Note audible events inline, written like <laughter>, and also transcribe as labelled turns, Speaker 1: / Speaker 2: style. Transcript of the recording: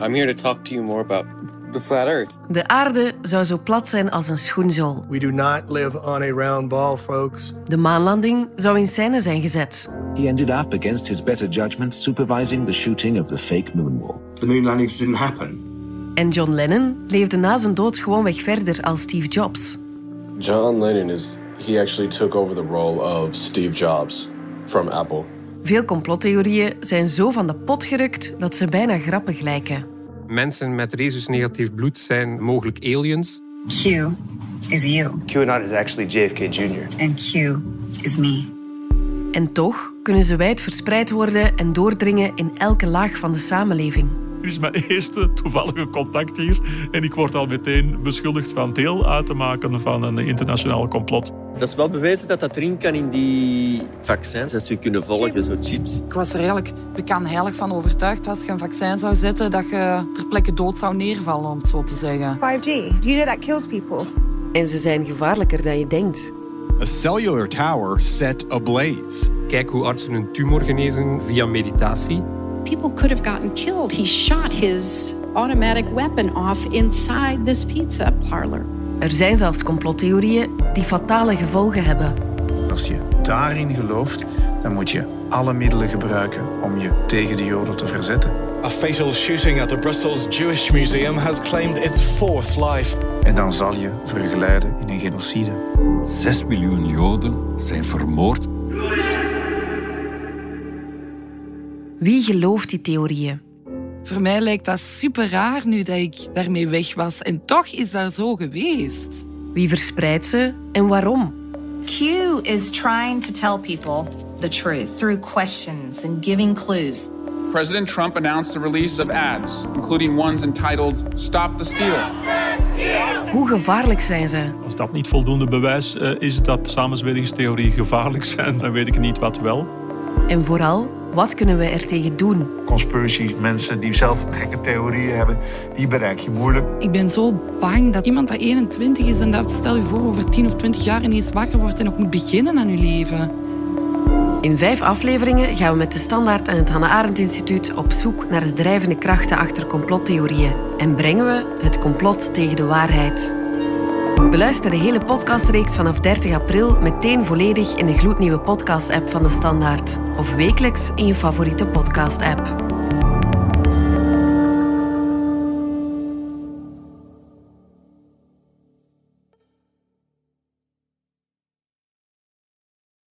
Speaker 1: I'm here to talk to you more about the flat earth.
Speaker 2: De aarde zou zo plat zijn als een schoenzool.
Speaker 3: We do not live on a round ball, folks.
Speaker 2: De maanlanding zou in scène zijn gezet.
Speaker 4: He ended up, against his better judgment, supervising the shooting of the fake moonwalk.
Speaker 5: The moon landings didn't happen.
Speaker 2: En John Lennon leefde na zijn dood gewoonweg verder als Steve Jobs.
Speaker 6: John Lennon is he actually took over the role of Steve Jobs from Apple.
Speaker 2: Veel complottheorieën zijn zo van de pot gerukt dat ze bijna grappig lijken.
Speaker 7: Mensen met rhesus-negatief bloed zijn mogelijk aliens.
Speaker 8: Q is you,
Speaker 9: QAnon is actually JFK Jr.
Speaker 8: and Q is me.
Speaker 2: En toch kunnen ze wijd verspreid worden en doordringen in elke laag van de samenleving.
Speaker 10: Dit is mijn eerste toevallige contact hier. En ik word al meteen beschuldigd van deel uit te maken van een internationaal complot.
Speaker 11: Dat is wel bewezen dat dat erin kan in die vaccins. Dat ze je kunnen volgen, zo chips.
Speaker 12: Ik was er eigenlijk heilig van overtuigd dat als je een vaccin zou zetten, dat je ter plekke dood zou neervallen, om het zo te zeggen.
Speaker 13: 5G, you know that kills people.
Speaker 2: En ze zijn gevaarlijker dan je denkt.
Speaker 14: A cellular tower set ablaze.
Speaker 7: Kijk hoe artsen een tumor genezen via meditatie.
Speaker 15: People could have gotten killed. He shot his automatic weapon off inside this pizza parlor.
Speaker 2: Er zijn zelfs complottheorieën die fatale gevolgen hebben.
Speaker 16: Als je daarin gelooft, dan moet je alle middelen gebruiken om je tegen de Joden te verzetten.
Speaker 17: A fatal shooting at the Brussels Jewish Museum has claimed its fourth life.
Speaker 16: En dan zal je vergeleiden in een genocide.
Speaker 18: 6 miljoen Joden zijn vermoord.
Speaker 2: Wie gelooft die theorieën?
Speaker 12: Voor mij lijkt dat super raar nu dat ik daarmee weg was. En toch is dat zo geweest.
Speaker 2: Wie verspreidt ze en waarom?
Speaker 19: Q is trying to tell people the truth through questions and giving clues.
Speaker 20: President Trump announced the release of ads, including ones entitled Stop the Steal.
Speaker 2: Hoe gevaarlijk zijn ze?
Speaker 10: Als dat niet voldoende bewijs eh, is dat samenzweringstheorieën gevaarlijk <laughs> zijn, dan weet ik niet wat wel.
Speaker 2: En vooral, wat kunnen we er tegen doen?
Speaker 3: Conspiracy mensen die zelf gekke theorieën hebben, die bereik je moeilijk.
Speaker 12: Ik ben zo bang dat iemand dat 21 is en dat stel je voor over 10 of 20 jaar ineens wakker wordt en nog moet beginnen aan je leven.
Speaker 2: In vijf afleveringen gaan we met de Standaard en het Hannah Arendt Instituut op zoek naar de drijvende krachten achter complottheorieën en brengen we het complot tegen de waarheid. Beluister de hele podcastreeks vanaf 30 april meteen volledig in de gloednieuwe podcast-app van de Standaard of wekelijks in je favoriete podcast-app.